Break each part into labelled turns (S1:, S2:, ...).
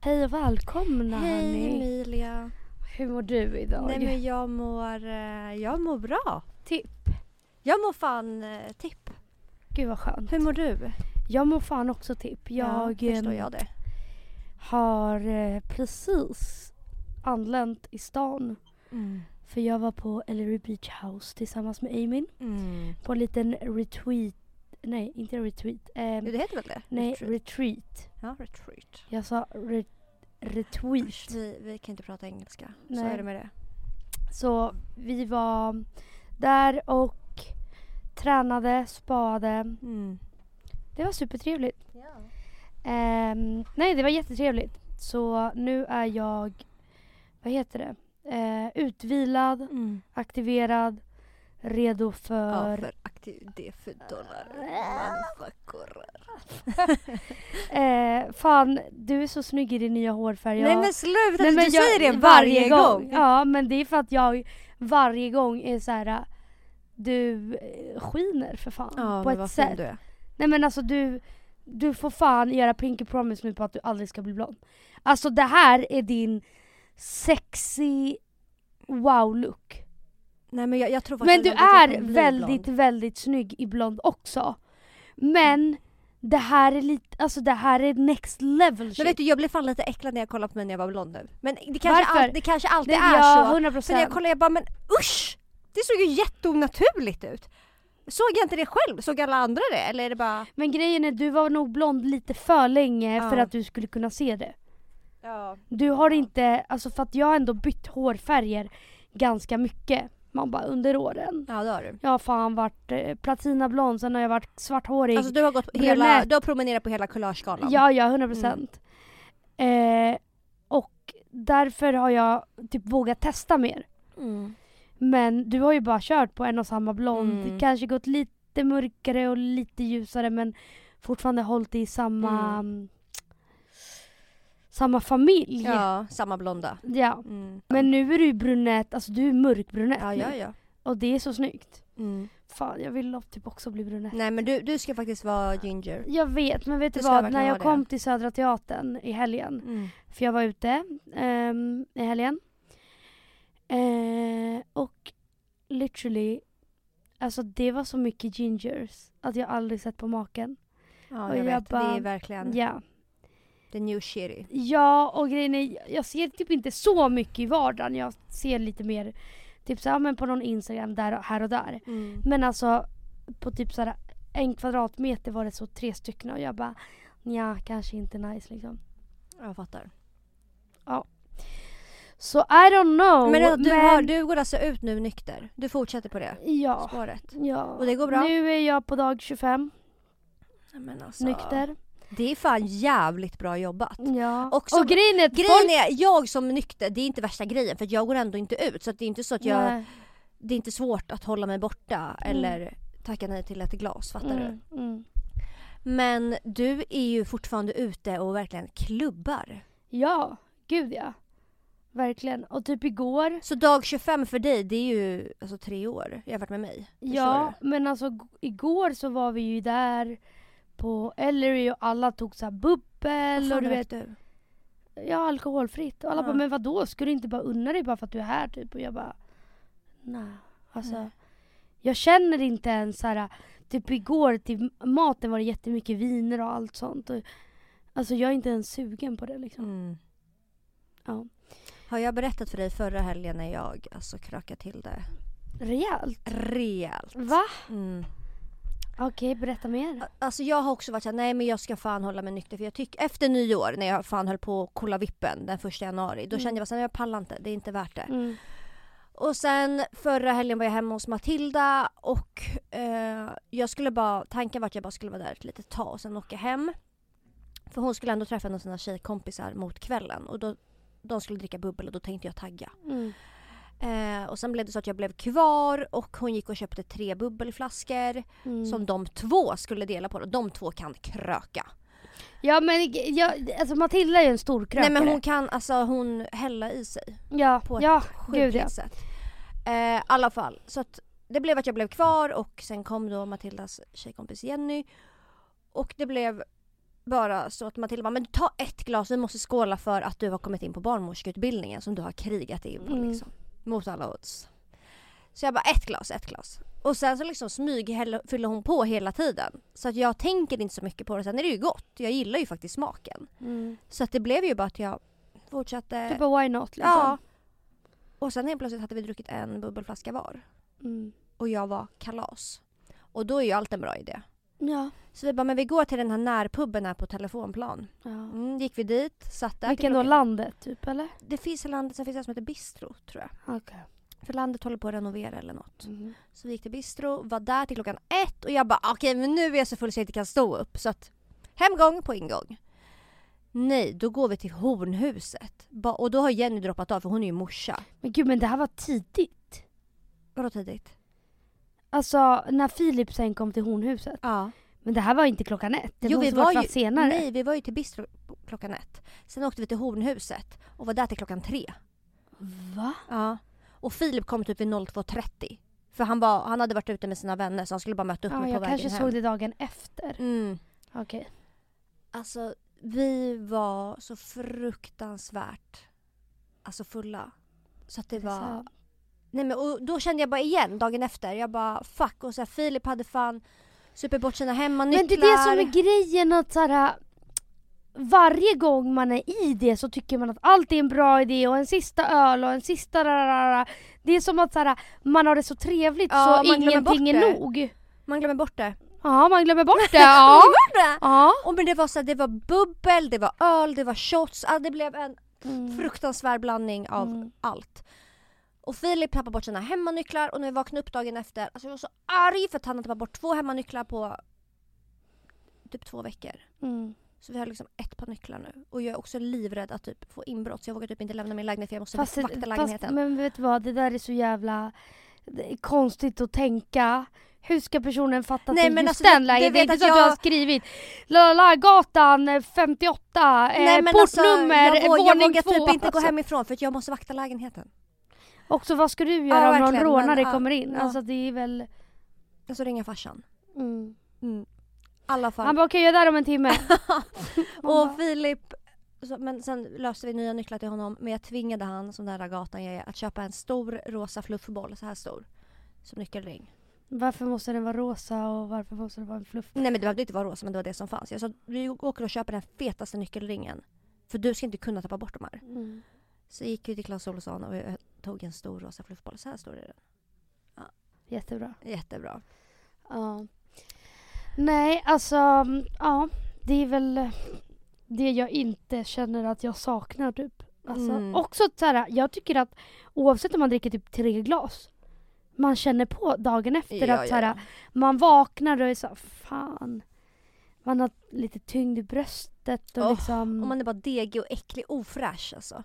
S1: Hej och välkomna
S2: Hej
S1: hörni.
S2: Emilia.
S1: Hur mår du idag?
S2: Nej men jag mår, eh, jag mår bra.
S1: Tipp.
S2: Jag mår fan eh, tipp.
S1: Gud vad skönt.
S2: Hur mår du?
S1: Jag mår fan också tipp. Jag,
S2: ja, förstår
S1: eh,
S2: jag det.
S1: har eh, precis anlänt i stan.
S2: Mm.
S1: För jag var på Ellery Beach House tillsammans med Amin.
S2: Mm.
S1: På en liten retweet. Nej, inte retweet. Eh,
S2: Jo, Det heter väl det?
S1: nej,
S2: Retreat.
S1: retreat.
S2: Ja, retreat.
S1: Jag sa re- retweet.
S2: Vi, vi kan inte prata engelska. Så
S1: Nej.
S2: är det med det.
S1: Så vi var där och tränade, spade.
S2: Mm.
S1: Det var supertrevligt. Ehm, nej, det var jättetrevligt. Så nu är jag, vad heter det, Eh, utvilad,
S2: Mm.
S1: aktiverad, redo för...
S2: Ja, för aktiv, det är för dollar. Motherfucker.
S1: Eh, fan, du är så snygg i din nya hårfärg.
S2: Nej
S1: Jag-
S2: men sluta!
S1: Nej,
S2: du
S1: men jag-
S2: säger det varje gång.
S1: Ja, men det är för att jag varje gång är så här. du eh, skiner för fan
S2: Ja,
S1: på
S2: men
S1: ett
S2: vad fin
S1: sätt.
S2: du är.
S1: Nej men alltså du, du får fan göra pinky promise nu på att du aldrig ska bli blond. Alltså det här är din sexy wow-look.
S2: Nej men jag, jag tror
S1: Men
S2: faktiskt
S1: du
S2: aldrig typ att jag
S1: är
S2: kommer bli
S1: väldigt,
S2: blond.
S1: väldigt snygg i blond också. Men det här är lite, alltså det här är next level shit.
S2: Men vet du, jag blev fan lite äcklad när jag kollade på mig när jag var blond nu. Men det kanske,
S1: Varför?
S2: all, det kanske alltid
S1: Nej,
S2: är
S1: ja,
S2: så.
S1: 100%.
S2: För när jag kollade jag bara, men usch! Det såg ju jätteonaturligt ut. Såg jag inte det själv? Såg alla andra det? Eller är det bara...
S1: Men grejen är, du var nog blond lite för länge
S2: Ja.
S1: för att du skulle kunna se det.
S2: Ja.
S1: Du har inte, alltså för att jag har ändå bytt hårfärger ganska mycket. Man bara under åren.
S2: Ja det har du.
S1: Jag har fan varit eh, platinablond, sen har jag varit svarthårig.
S2: Alltså du har gått på
S1: Brunett.
S2: hela, du har promenerat på hela collageskalan.
S1: ja, ja, 100 procent.
S2: Mm.
S1: Eh, och därför har jag typ vågat testa mer.
S2: Mm.
S1: Men du har ju bara kört på en och samma blond.
S2: Mm.
S1: Kanske gått lite mörkare och lite ljusare men fortfarande hållit i samma
S2: Mm.
S1: mm, samma familj.
S2: Ja, samma blonda.
S1: Ja.
S2: Mm.
S1: Men nu är du ju brunett, alltså du är mörkbrunett
S2: Ja,
S1: nu.
S2: ja, ja.
S1: Och det är så snyggt.
S2: Mm.
S1: Fan, jag vill typ också bli brunett.
S2: Nej men du, du ska faktiskt vara ginger.
S1: Jag vet, men vet du
S2: Du ska
S1: vad?
S2: verkligen
S1: När jag
S2: ha det.
S1: kom till Södra Teatern i helgen,
S2: Mm.
S1: för jag var ute ehm, i helgen. Eh, och literally, alltså det var så mycket gingers att jag aldrig sett på maken.
S2: Ja
S1: Och
S2: jag
S1: jag
S2: vet,
S1: bara-
S2: det är verkligen
S1: Ja.
S2: the new shitty.
S1: ja, och grejen är, jag ser typ inte så mycket i vardagen. Jag ser lite mer typ så här, men på någon Instagram där och här och där.
S2: Mm.
S1: Men alltså på typ så här, en kvadratmeter var det så tre stycken och jag bara ja kanske inte nice liksom.
S2: Jag fattar.
S1: Så I don't know.
S2: men att du, har, du går alltså ut nu nykter? Du fortsätter på det
S1: Ja.
S2: spåret?
S1: Ja.
S2: Och det går bra?
S1: Nu är jag på dag 25,
S2: Nej, men alltså,
S1: nykter.
S2: Det är fan jävligt bra jobbat.
S1: Ja.
S2: Och
S1: Och,
S2: som-
S1: grejen är att
S2: Grejen är, jag som nykter, det är inte värsta grejen för att jag går ändå inte ut så att det är inte så att jag,
S1: Nej.
S2: det är inte svårt att hålla mig borta eller tacka nej till ett glas, fattar du?
S1: Mm, mm.
S2: Men du är ju fortfarande ute och verkligen klubbar.
S1: Ja, gud ja. Verkligen. Och typ igår,
S2: Så dag 25 för dig, det är ju alltså tre år jämfört med mig.
S1: ja men alltså g- igår så var vi ju där på Ellery och alla tog så här bubbel och du vet,
S2: du.
S1: ja alkoholfritt. Och alla
S2: Ja.
S1: bara, men vadå ska du inte bara unna dig bara för att du är här typ? Och jag bara, nej. Alltså,
S2: Nej.
S1: jag känner inte ens så här, typ igår till maten var det jättemycket viner och allt sånt. Och, alltså jag är inte ens sugen på det liksom.
S2: Mm.
S1: Ja.
S2: Har jag berättat för dig förra helgen när jag alltså krökade till det
S1: Rejält.
S2: rejält?
S1: Va?
S2: Mm.
S1: Okej, berätta mer.
S2: Alltså jag har också varit såhär, nej men jag ska fan hålla mig nykter för jag tycker, efter nyår när jag fan höll på att kolla vippen den första januari, då
S1: Mm.
S2: kände jag bara såhär, nej jag pallar inte, det är inte värt det.
S1: Mm.
S2: Och sen förra helgen var jag hemma hos Matilda och eh, jag skulle bara, tanken var att jag bara skulle vara där ett litet tag och sen åka hem. För hon skulle ändå träffa en av sina tjejkompisar mot kvällen och då, de skulle dricka bubbel och då tänkte jag tagga.
S1: Mm.
S2: Eh, och sen blev det så att jag blev kvar och hon gick och köpte tre bubbelflaskor
S1: Mm.
S2: som de två skulle dela på. De två kan kröka.
S1: Ja men g- jag, alltså Matilda är ju en stor krökare.
S2: Nej men hon kan alltså hon hälla i sig
S1: ja,
S2: på ett
S1: ja,
S2: sjukligt
S1: gud ja.
S2: sätt. Eh, I alla fall så att det blev att jag blev kvar och sen kom då Matildas tjejkompis Jenny och det blev bara så att Matilda bara, men ta ett glas, vi måste skåla för att du har kommit in på barnmorskeutbildningen som du har krigat in på
S1: Mm.
S2: liksom. Mot alla odds. Så jag bara, ett glas, ett glas. Och sen så liksom smyg fyller hon på hela tiden. Så att jag tänker inte så mycket på det. Sen är det ju gott, jag gillar ju faktiskt smaken. Så att det blev ju bara att jag fortsatte.
S1: Du bara Mm. why not liksom.
S2: Eh, ja. Och sen helt plötsligt hade vi druckit en bubbelflaska var.
S1: Mm.
S2: Och jag var kalas. Och då är ju allt en bra idé.
S1: Ja.
S2: Så vi bara, men vi går till den här närpubben här på telefonplan.
S1: ja.
S2: Mm, gick vi dit, satt där.
S1: Vilken då?
S2: Klockan-
S1: Landet typ eller?
S2: Det finns i landet, sen finns det en som heter Bistro tror jag.
S1: Okej.
S2: För landet håller på att renovera eller något. Så vi gick till Bistro, var där till klockan ett och jag bara okej men nu är jag så full så jag inte kan stå upp. Så att hemgång på ingång. Nej, då går vi till Hornhuset. Ba- och då har Jenny droppat av för hon är ju morsa.
S1: Men gud men det här var tidigt.
S2: Vadå tidigt?
S1: Alltså när Filip sen kom till Hornhuset.
S2: Ja.
S1: Men det här var inte klockan ett. Det
S2: Jo,
S1: måste
S2: vi
S1: varit
S2: var ju-
S1: fast senare.
S2: Nej, vi var ju till Bistro klockan ett. Sen åkte vi till Hornhuset och var där till klockan tre.
S1: Va?
S2: Ja. Och Filip kom typ vid 02.30. För han, var, han hade varit ute med sina vänner så han skulle bara möta upp
S1: Ja,
S2: mig på
S1: jag
S2: vägen
S1: kanske
S2: hem.
S1: såg det dagen efter.
S2: Mm.
S1: Okej.
S2: Alltså vi var så fruktansvärt alltså fulla. Så att det var...
S1: Så-
S2: Nej, men, och då kände jag bara igen dagen efter. Jag bara fuck. Och så här, Filip hade fan supit bort sina hemmanycklar.
S1: Men det är det som är grejen att så här, varje gång man är i det så tycker man att allt är en bra idé och en sista öl och en sista rarara. Det är som att så här, man har det så trevligt
S2: Ja, man
S1: så
S2: glömmer
S1: ingenting
S2: bort
S1: är
S2: det.
S1: nog.
S2: Man glömmer bort det.
S1: Ja, man glömmer bort det. Ja. ja.
S2: Och men det var så här, det var bubbel, det var öl, det var shots. Ah, det blev en fruktansvärd blandning av
S1: Mm.
S2: allt. Och Filip tappade bort sina hemmanycklar och när vi vaknade upp dagen efter, alltså jag var så arg för att han hade tappat bort två hemmanycklar på typ två veckor.
S1: Mm.
S2: Så vi har liksom ett par nycklar nu. Och jag är också livrädd att typ få inbrott så jag vågar typ inte lämna min lägenhet för jag måste
S1: Fast,
S2: vakta
S1: fast,
S2: lägenheten.
S1: men vet du vad, det där är så jävla det är konstigt att tänka. Hur ska personen fatta
S2: Nej,
S1: till
S2: men
S1: just
S2: alltså, du-
S1: den
S2: du
S1: lägenheten? Det är inte
S2: vet att
S1: så att du
S2: jag-
S1: har skrivit la, la, la, gatan eh, 58, eh, portnummer,
S2: alltså, jag, vå- jag
S1: våning
S2: vågar
S1: två.
S2: typ inte gå
S1: Alltså.
S2: hemifrån för att jag måste vakta lägenheten.
S1: Och så vad ska du
S2: Ja,
S1: göra om någon
S2: verkligen, men,
S1: rånare
S2: ja,
S1: kommer in?
S2: ja.
S1: Alltså det är väl...
S2: Och så ringer farsan.
S1: Mm.
S2: Alla fall.
S1: Han bara okej jag är där om en timme. Man
S2: Och
S1: bara,
S2: Filip, så, men sen löste vi nya nycklar till honom men jag tvingade han, som den där gatan jag är, att köpa en stor rosa fluffboll, så här stor. Som nyckelring.
S1: varför måste den vara rosa och varför måste den vara en fluff?
S2: Nej men det behövde inte vara rosa men det var det som fanns. Jag sa vi åker och köper den fetaste nyckelringen. För du ska inte kunna tappa bort de här.
S1: Mm.
S2: Så gick vi till Clas Ohlson och jag tog en stor rosa fluffboll. Så här står det i den.
S1: Jättebra.
S2: Jättebra.
S1: Ja. Nej alltså, ja det är väl det jag inte känner att jag saknar typ. Alltså,
S2: Mm.
S1: Också så här, jag tycker att oavsett om man dricker typ tre glas man känner på dagen efter att så här, man vaknar och är så här, fan. Man har lite tyngd i bröstet och
S2: Åh,
S1: liksom...
S2: Och man är bara degig och äcklig, ofräsch alltså.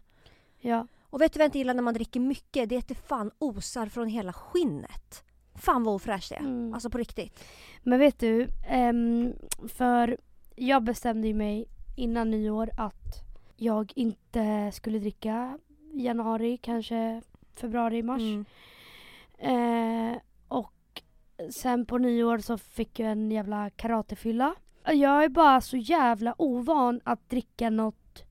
S1: Ja.
S2: Och vet du vad jag inte gillar när man dricker mycket? Det är att det fan osar från hela skinnet. Fan vad ofräscht det är.
S1: Mm.
S2: Alltså på riktigt.
S1: Men vet du, ehm, för jag bestämde ju mig innan nyår att jag inte skulle dricka i januari, kanske februari, mars.
S2: Mm.
S1: Eh, och sen på nyår så fick jag en jävla karatefylla. Jag är bara så jävla ovan att dricka något.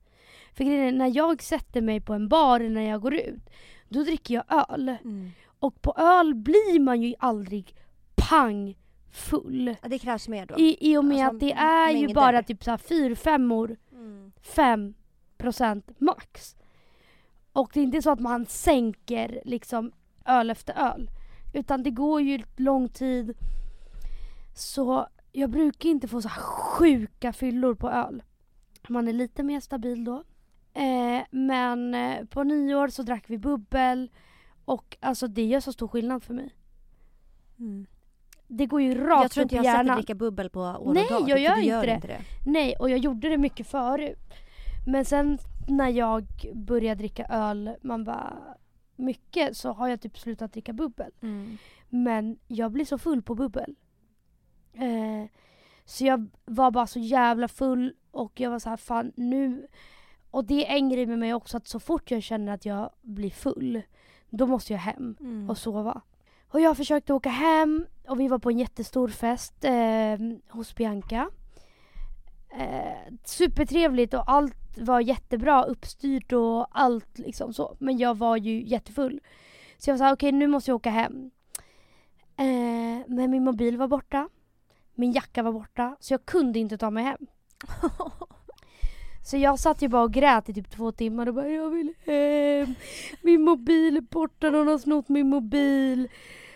S1: För grejen är, när jag sätter mig på en bar eller när jag går ut, då dricker jag öl. Och på öl blir man ju aldrig pang full.
S2: Ja, det krävs mer då.
S1: I, i och med
S2: Alltså,
S1: att det är ju
S2: mängder.
S1: bara typ såhär fyrfemmor,
S2: Mm.
S1: fem procent max. Och det är inte så att man sänker liksom öl efter öl. Utan det går ju lång tid. Så jag brukar inte få så här sjuka fyllor på öl. Man är lite mer stabil då. Eh, men eh, på nyår så drack vi bubbel och alltså det gör så stor skillnad för mig. Det går ju rakt
S2: Mm. Jag tror inte
S1: upp
S2: jag
S1: i
S2: har sett dig
S1: hjärnan.
S2: dricka bubbel på år
S1: Nej,
S2: och dag. typ,
S1: jag
S2: för
S1: gör
S2: du
S1: inte det. Nej, och jag gjorde det mycket förut. Men sen när jag började dricka öl, man bara mycket, så har jag typ slutat dricka bubbel. Men jag blir så full på bubbel. Eh, så jag var bara så jävla full och jag var så här, fan nu... Och det är en grej med mig också att så fort jag känner att jag blir full, då måste jag hem
S2: Mm.
S1: och sova. Och jag försökte åka hem och vi var på en jättestor fest eh, hos Bianca. ehm, Eh, supertrevligt och allt var jättebra uppstyrt och allt liksom så. Men jag var ju jättefull. Så jag var såhär, okej nu måste jag åka hem. Eh, men min mobil var borta. Min jacka var borta. Så jag kunde inte ta mig hem. Så jag satt ju bara och grät i typ två timmar och bara jag vill hem. Min mobil är borta, någon har snott min mobil.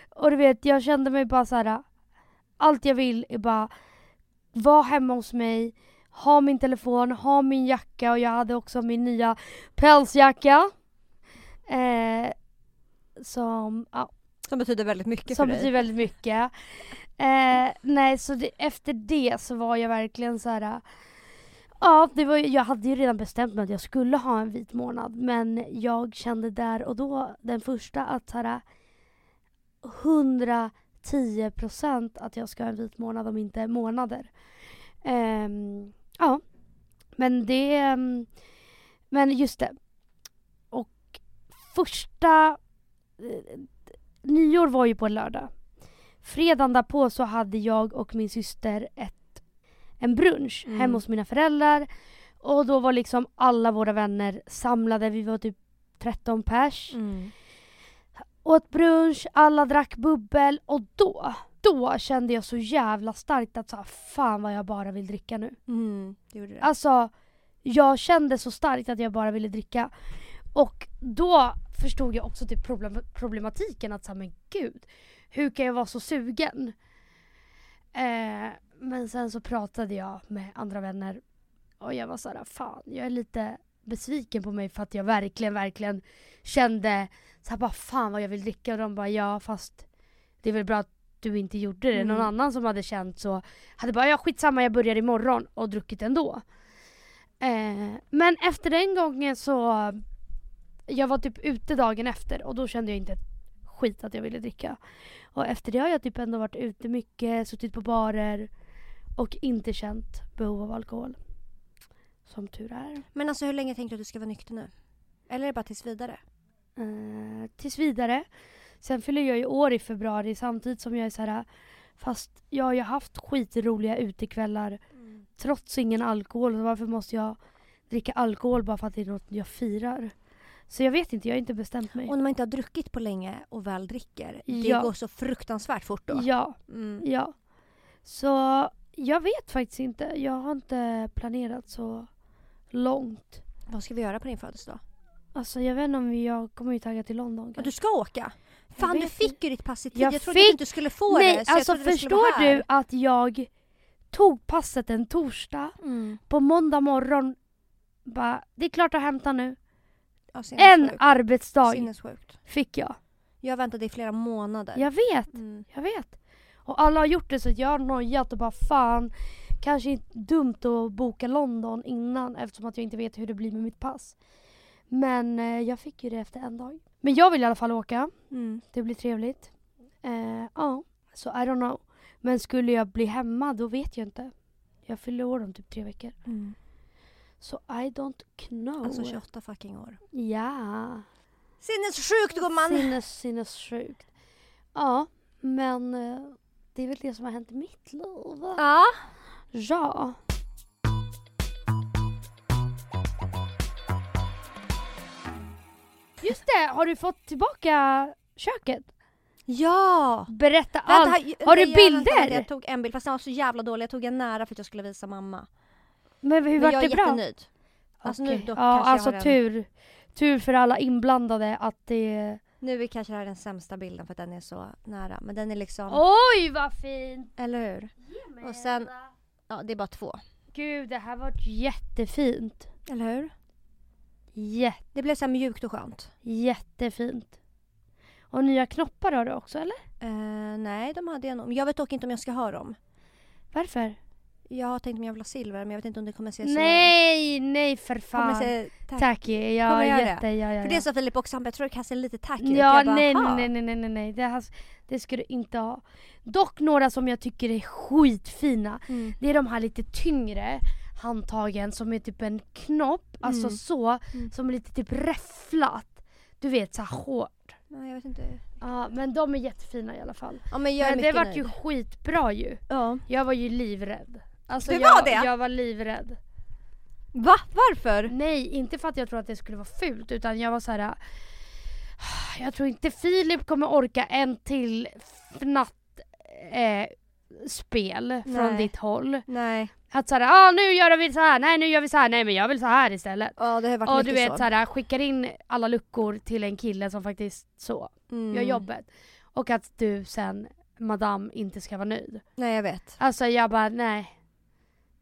S1: Och du vet, jag kände mig bara så här. Allt jag vill är bara vara hemma hos mig, ha min telefon, ha min jacka och jag hade också min nya pälsjacka. Eh, som, ja,
S3: Som betyder väldigt mycket
S1: som
S3: för
S1: betyder
S3: dig.
S1: väldigt mycket. Eh, nej, så det, efter det så var jag verkligen så här. Ja, det var, ju- jag hade ju redan bestämt mig att jag skulle ha en vit månad men jag kände där och då, den första, att så här 110 procent att jag ska ha en vit månad om inte månader. Ehm, ja, men det... ehm, Men just det. Och första... eh, Nyår var ju på en lördag. Fredagen därpå så hade jag och min syster ett, en brunch
S3: Mm.
S1: hemma hos mina föräldrar. Och då var liksom alla våra vänner samlade. Vi var typ 13 pers
S3: Mm.
S1: åt brunch, alla drack bubbel och då, då kände jag så jävla starkt att så här, fan vad jag bara vill dricka nu.
S3: Mm. Det gjorde det.
S1: Alltså, jag kände så starkt att jag bara ville dricka. Och då förstod jag också typ problem, problematiken att så här, men gud, hur kan jag vara så sugen? Eh, men sen så pratade jag med andra vänner och jag var såhär, fan jag är lite besviken på mig för att jag verkligen, verkligen kände så här, bara fan vad jag vill dricka och de bara ja fast det är väl bra att du inte gjorde det. Någon
S3: Mm.
S1: annan som hade känt så hade bara ja skitsamma jag börjar imorgon och druckit ändå. Eh, men efter den gången så jag var typ ute dagen efter och då kände jag inte ett skit att jag ville dricka. Och efter det har jag typ ändå varit ute mycket, suttit på barer och inte känt behov av alkohol. Som tur är.
S2: Men alltså hur länge tänker du att du ska vara nykter nu? Eller är det bara tills vidare?
S1: Eh, tills vidare. Sen fyller jag ju år i februari samtidigt som jag är så här fast jag har ju haft skitroliga utekvällar trots ingen alkohol. Så varför måste jag dricka alkohol bara för att det är något jag firar? Så jag vet inte, jag har inte bestämt mig.
S2: Och när man inte har druckit på länge och väl dricker,
S1: Ja.
S2: det går så fruktansvärt fort då.
S1: Ja,
S3: Mm.
S1: ja. Så jag vet faktiskt inte. Jag har inte planerat så långt.
S2: Vad ska vi göra på din födelsedag?
S1: Alltså jag vet inte om jag kommer ju tagga till London
S2: Ja,
S1: kanske.
S2: du ska åka! Fan du
S1: vet
S2: fick ju ditt pass i tid,
S1: Jag
S2: jag, trodde
S1: fick-
S2: att du inte skulle få
S1: Nej,
S2: det. så jag
S1: alltså
S2: trodde det skulle
S1: förstår
S2: vara här.
S1: du att jag tog passet en torsdag
S2: Mm.
S1: på måndag morgon bara, det är klart att hämta nu.
S2: Ja,
S1: En
S2: sinnessjukt.
S1: arbetsdag
S2: Sinnessjukt.
S1: fick jag.
S2: Jag väntade i flera månader.
S1: Jag vet,
S2: Mm.
S1: jag vet. Och alla har gjort det så att jag har nojat och bara fan, kanske inte dumt att boka London innan eftersom att jag inte vet hur det blir med mitt pass. Men eh, jag fick ju det efter en dag. Men jag vill i alla fall åka.
S2: Mm.
S1: Det blir trevligt. Eh, Ja, så I don't know. Men skulle jag bli hemma, då vet jag inte. Jag fyller år om typ tre veckor.
S2: Mm.
S1: Så I don't know.
S2: Alltså 28 fucking år.
S1: Ja.
S2: Sinnessjukt gumman!
S1: Sinnes, sinnessjukt. Ja, men eh, det är väl det som har hänt i mitt liv.
S2: Ja.
S1: Ja. Just det, har du fått tillbaka köket?
S2: Ja!
S1: Berätta
S2: Vänta,
S1: allt.
S2: jag-
S1: Har du
S2: nej, jag- vänta,
S1: bilder?
S2: vänta, Jag tog en bild fast den var så jävla dålig. Jag tog en nära för att jag skulle visa mamma.
S1: Men hur
S2: Men
S1: vart
S2: jag
S1: det
S2: är
S1: bra?
S2: jättenöjd. Alltså nu
S1: Okej.
S2: dock
S1: ja,
S2: kanske
S1: alltså
S2: jag har en,
S1: tur. Tur för alla inblandade att det...
S2: Nu är kanske det här den sämsta bilden för att den är så nära. Men den är liksom,
S1: Oj vad fint!
S2: eller hur? Och sen- Ja det är bara två.
S1: Gud det här var jättefint.
S2: Eller hur?
S1: Jätte,
S2: Det blev så här mjukt och skönt.
S1: jättefint. Och nya knoppar har du också eller?
S2: Eh, nej de hade jag nog. Jag vet dock inte om jag ska ha dem.
S1: Varför?
S2: Jag har tänkt om jag vill ha silver men jag vet inte om det kommer se så...
S1: Nej, nej för
S2: Kommer
S1: fan.
S2: se tack.
S1: Tack. Ja,
S2: Kommer jag göra
S1: jätte, ja, ja,
S2: För
S1: ja.
S2: det sa Filip också, han bara, jag tror det kan se lite tack ut.
S1: Ja,
S2: Jag bara,
S1: nej,
S2: "Ha."
S1: nej, nej, nej, nej, nej. Det, här, det ska du inte ha. Dock några som jag tycker är skitfina.
S2: Mm.
S1: Det är de här lite tyngre handtagen som är typ en knopp, alltså
S2: Mm.
S1: så,
S2: Mm.
S1: som är lite typ räfflat. Du vet så här hårt.
S2: Nej, jag vet inte.
S1: Ja, men de är jättefina i alla fall.
S2: Ja men jag är
S1: men det
S2: mycket
S1: vart
S2: nöjd.
S1: ju skitbra ju.
S2: Ja.
S1: Jag var ju livrädd. Alltså,
S3: Du
S1: jag,
S3: var det?
S1: Jag var livrädd.
S3: Va? Varför?
S1: Nej, inte för att jag tror att det skulle vara fult utan jag var så här. äh, Jag tror inte Filip kommer orka en till fnatt eh, spel från
S3: Nej.
S1: ditt håll.
S3: Nej.
S1: Att såhär, ah, nu gör vi så här, nej nu gör vi så här, nej men jag vill så här istället.
S2: Ja det har varit
S1: Och du
S2: mycket
S1: vet
S2: så.
S1: så här, skickar in alla luckor till en kille som faktiskt så,
S3: Mm.
S1: gör jobbet. Och att du sen, madame, inte ska vara nöjd.
S3: Nej jag vet.
S1: Alltså jag bara, nej.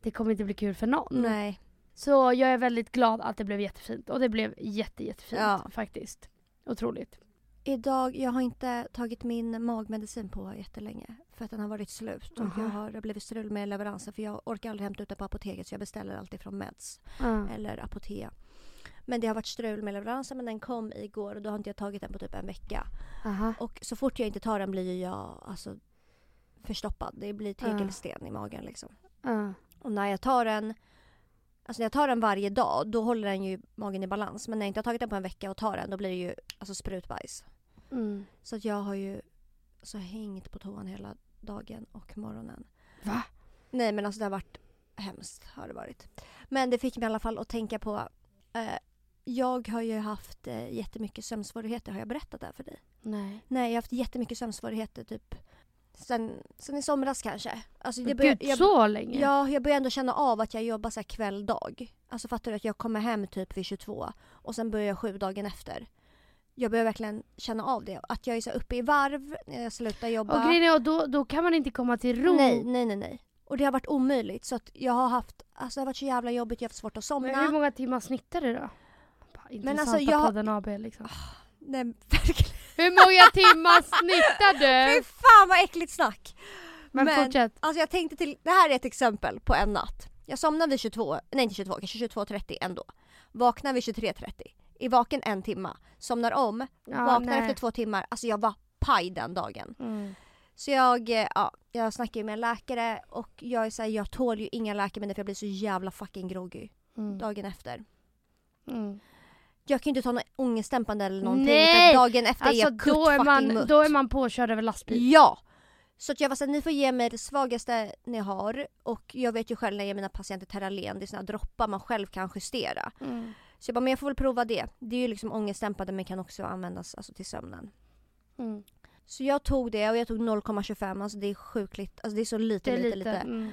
S1: Det kommer inte bli kul för någon.
S3: Nej.
S1: Så jag är väldigt glad att det blev jättefint. Och det blev jätte, jättefint
S3: Ja.
S1: faktiskt. Otroligt.
S2: Idag, jag har inte tagit min magmedicin på jättelänge för att den har varit slut och
S1: Aha.
S2: jag har det har blivit strul med leveransen för jag orkar aldrig hämta ut den på apoteket så jag beställer alltid från Meds
S1: Ja.
S2: eller Apotea. Men det har varit strul med leveransen men den kom igår och då har inte jag tagit den på typ en vecka.
S1: Aha.
S2: Och så fort jag inte tar den blir ju jag alltså förstoppad. Det blir tegelsten i magen liksom.
S1: Ja.
S2: Och när jag tar den Alltså när jag tar den varje dag då håller den ju magen i balans. Men när jag inte har tagit den på en vecka och tar den då blir det ju alltså sprutbajs.
S1: Mm.
S2: Så att jag har ju så hängt på toan hela dagen och morgonen.
S1: Va?
S2: Nej men alltså det har varit hemskt har det varit. Men det fick mig i alla fall att tänka på eh, jag har ju haft eh, jättemycket sömnsvårigheter, har jag berättat det här för dig?
S1: Nej.
S2: Nej, jag har haft jättemycket sömnsvårigheter typ sen, sen i somras kanske. Alltså, det börjar-
S1: Gud, så länge?
S2: Ja, jag börjar ändå känna av att jag jobbar så här kväll, dag. Alltså fattar du att jag kommer hem typ vid 22 och sen börjar jag sju dagen efter. Jag börjar verkligen känna av det. Att jag är så här uppe i varv när jag slutar jobba.
S1: Och grejen är, och då, då kan man inte komma till ro.
S2: nej, nej, nej, nej. Och det har varit omöjligt så att jag har haft, alltså det har varit så jävla jobbigt, jag har haft svårt att somna.
S1: Men hur många timmar snittar du då? Intressanta
S2: alltså, jag- Ah,
S1: podden AB liksom.
S2: Nej, verkligen.
S1: Hur många timmar snittar du?
S2: Fy fan vad äckligt snack!
S1: Men,
S2: men-
S1: fortsätt.
S2: Alltså jag tänkte till, det här är ett exempel på en natt. Jag somnade vid 22, nej inte 22, kanske 22.30 ändå. Vaknar vid 23.30. Är vaken en timma. Somnar om,
S1: Ja,
S2: vaknar
S1: nej.
S2: efter två timmar. Alltså jag var paj den dagen.
S1: Mm.
S2: Så jag, eh, ja, jag snackade ju med en läkare och jag är såhär, jag tål ju inga läkemedel för jag blir så jävla fucking groggy
S1: Mm.
S2: dagen efter.
S1: Mm.
S2: Jag kan ju inte ta något ångestdämpande eller någonting.
S1: Nej!
S2: Utan dagen efter är
S1: Alltså
S2: jag kutt
S1: då är,
S2: fucking
S1: man,
S2: mutt.
S1: då är man påkörd över lastbil.
S2: Ja! Så att jag var såhär, ni får ge mig det svagaste ni har och jag vet ju själv när jag ger mina patienter Terralen, det är såna här droppar man själv kan justera.
S1: Mm.
S2: Så jag bara, men jag får väl prova det. Det är ju liksom ångestdämpande men kan också användas alltså, till sömnen.
S1: Mm.
S2: Så jag tog det och jag tog 0,25, alltså det är sjukligt, alltså det är så lite,
S1: Det är
S2: lite,
S1: lite.
S2: lite,
S1: Mm.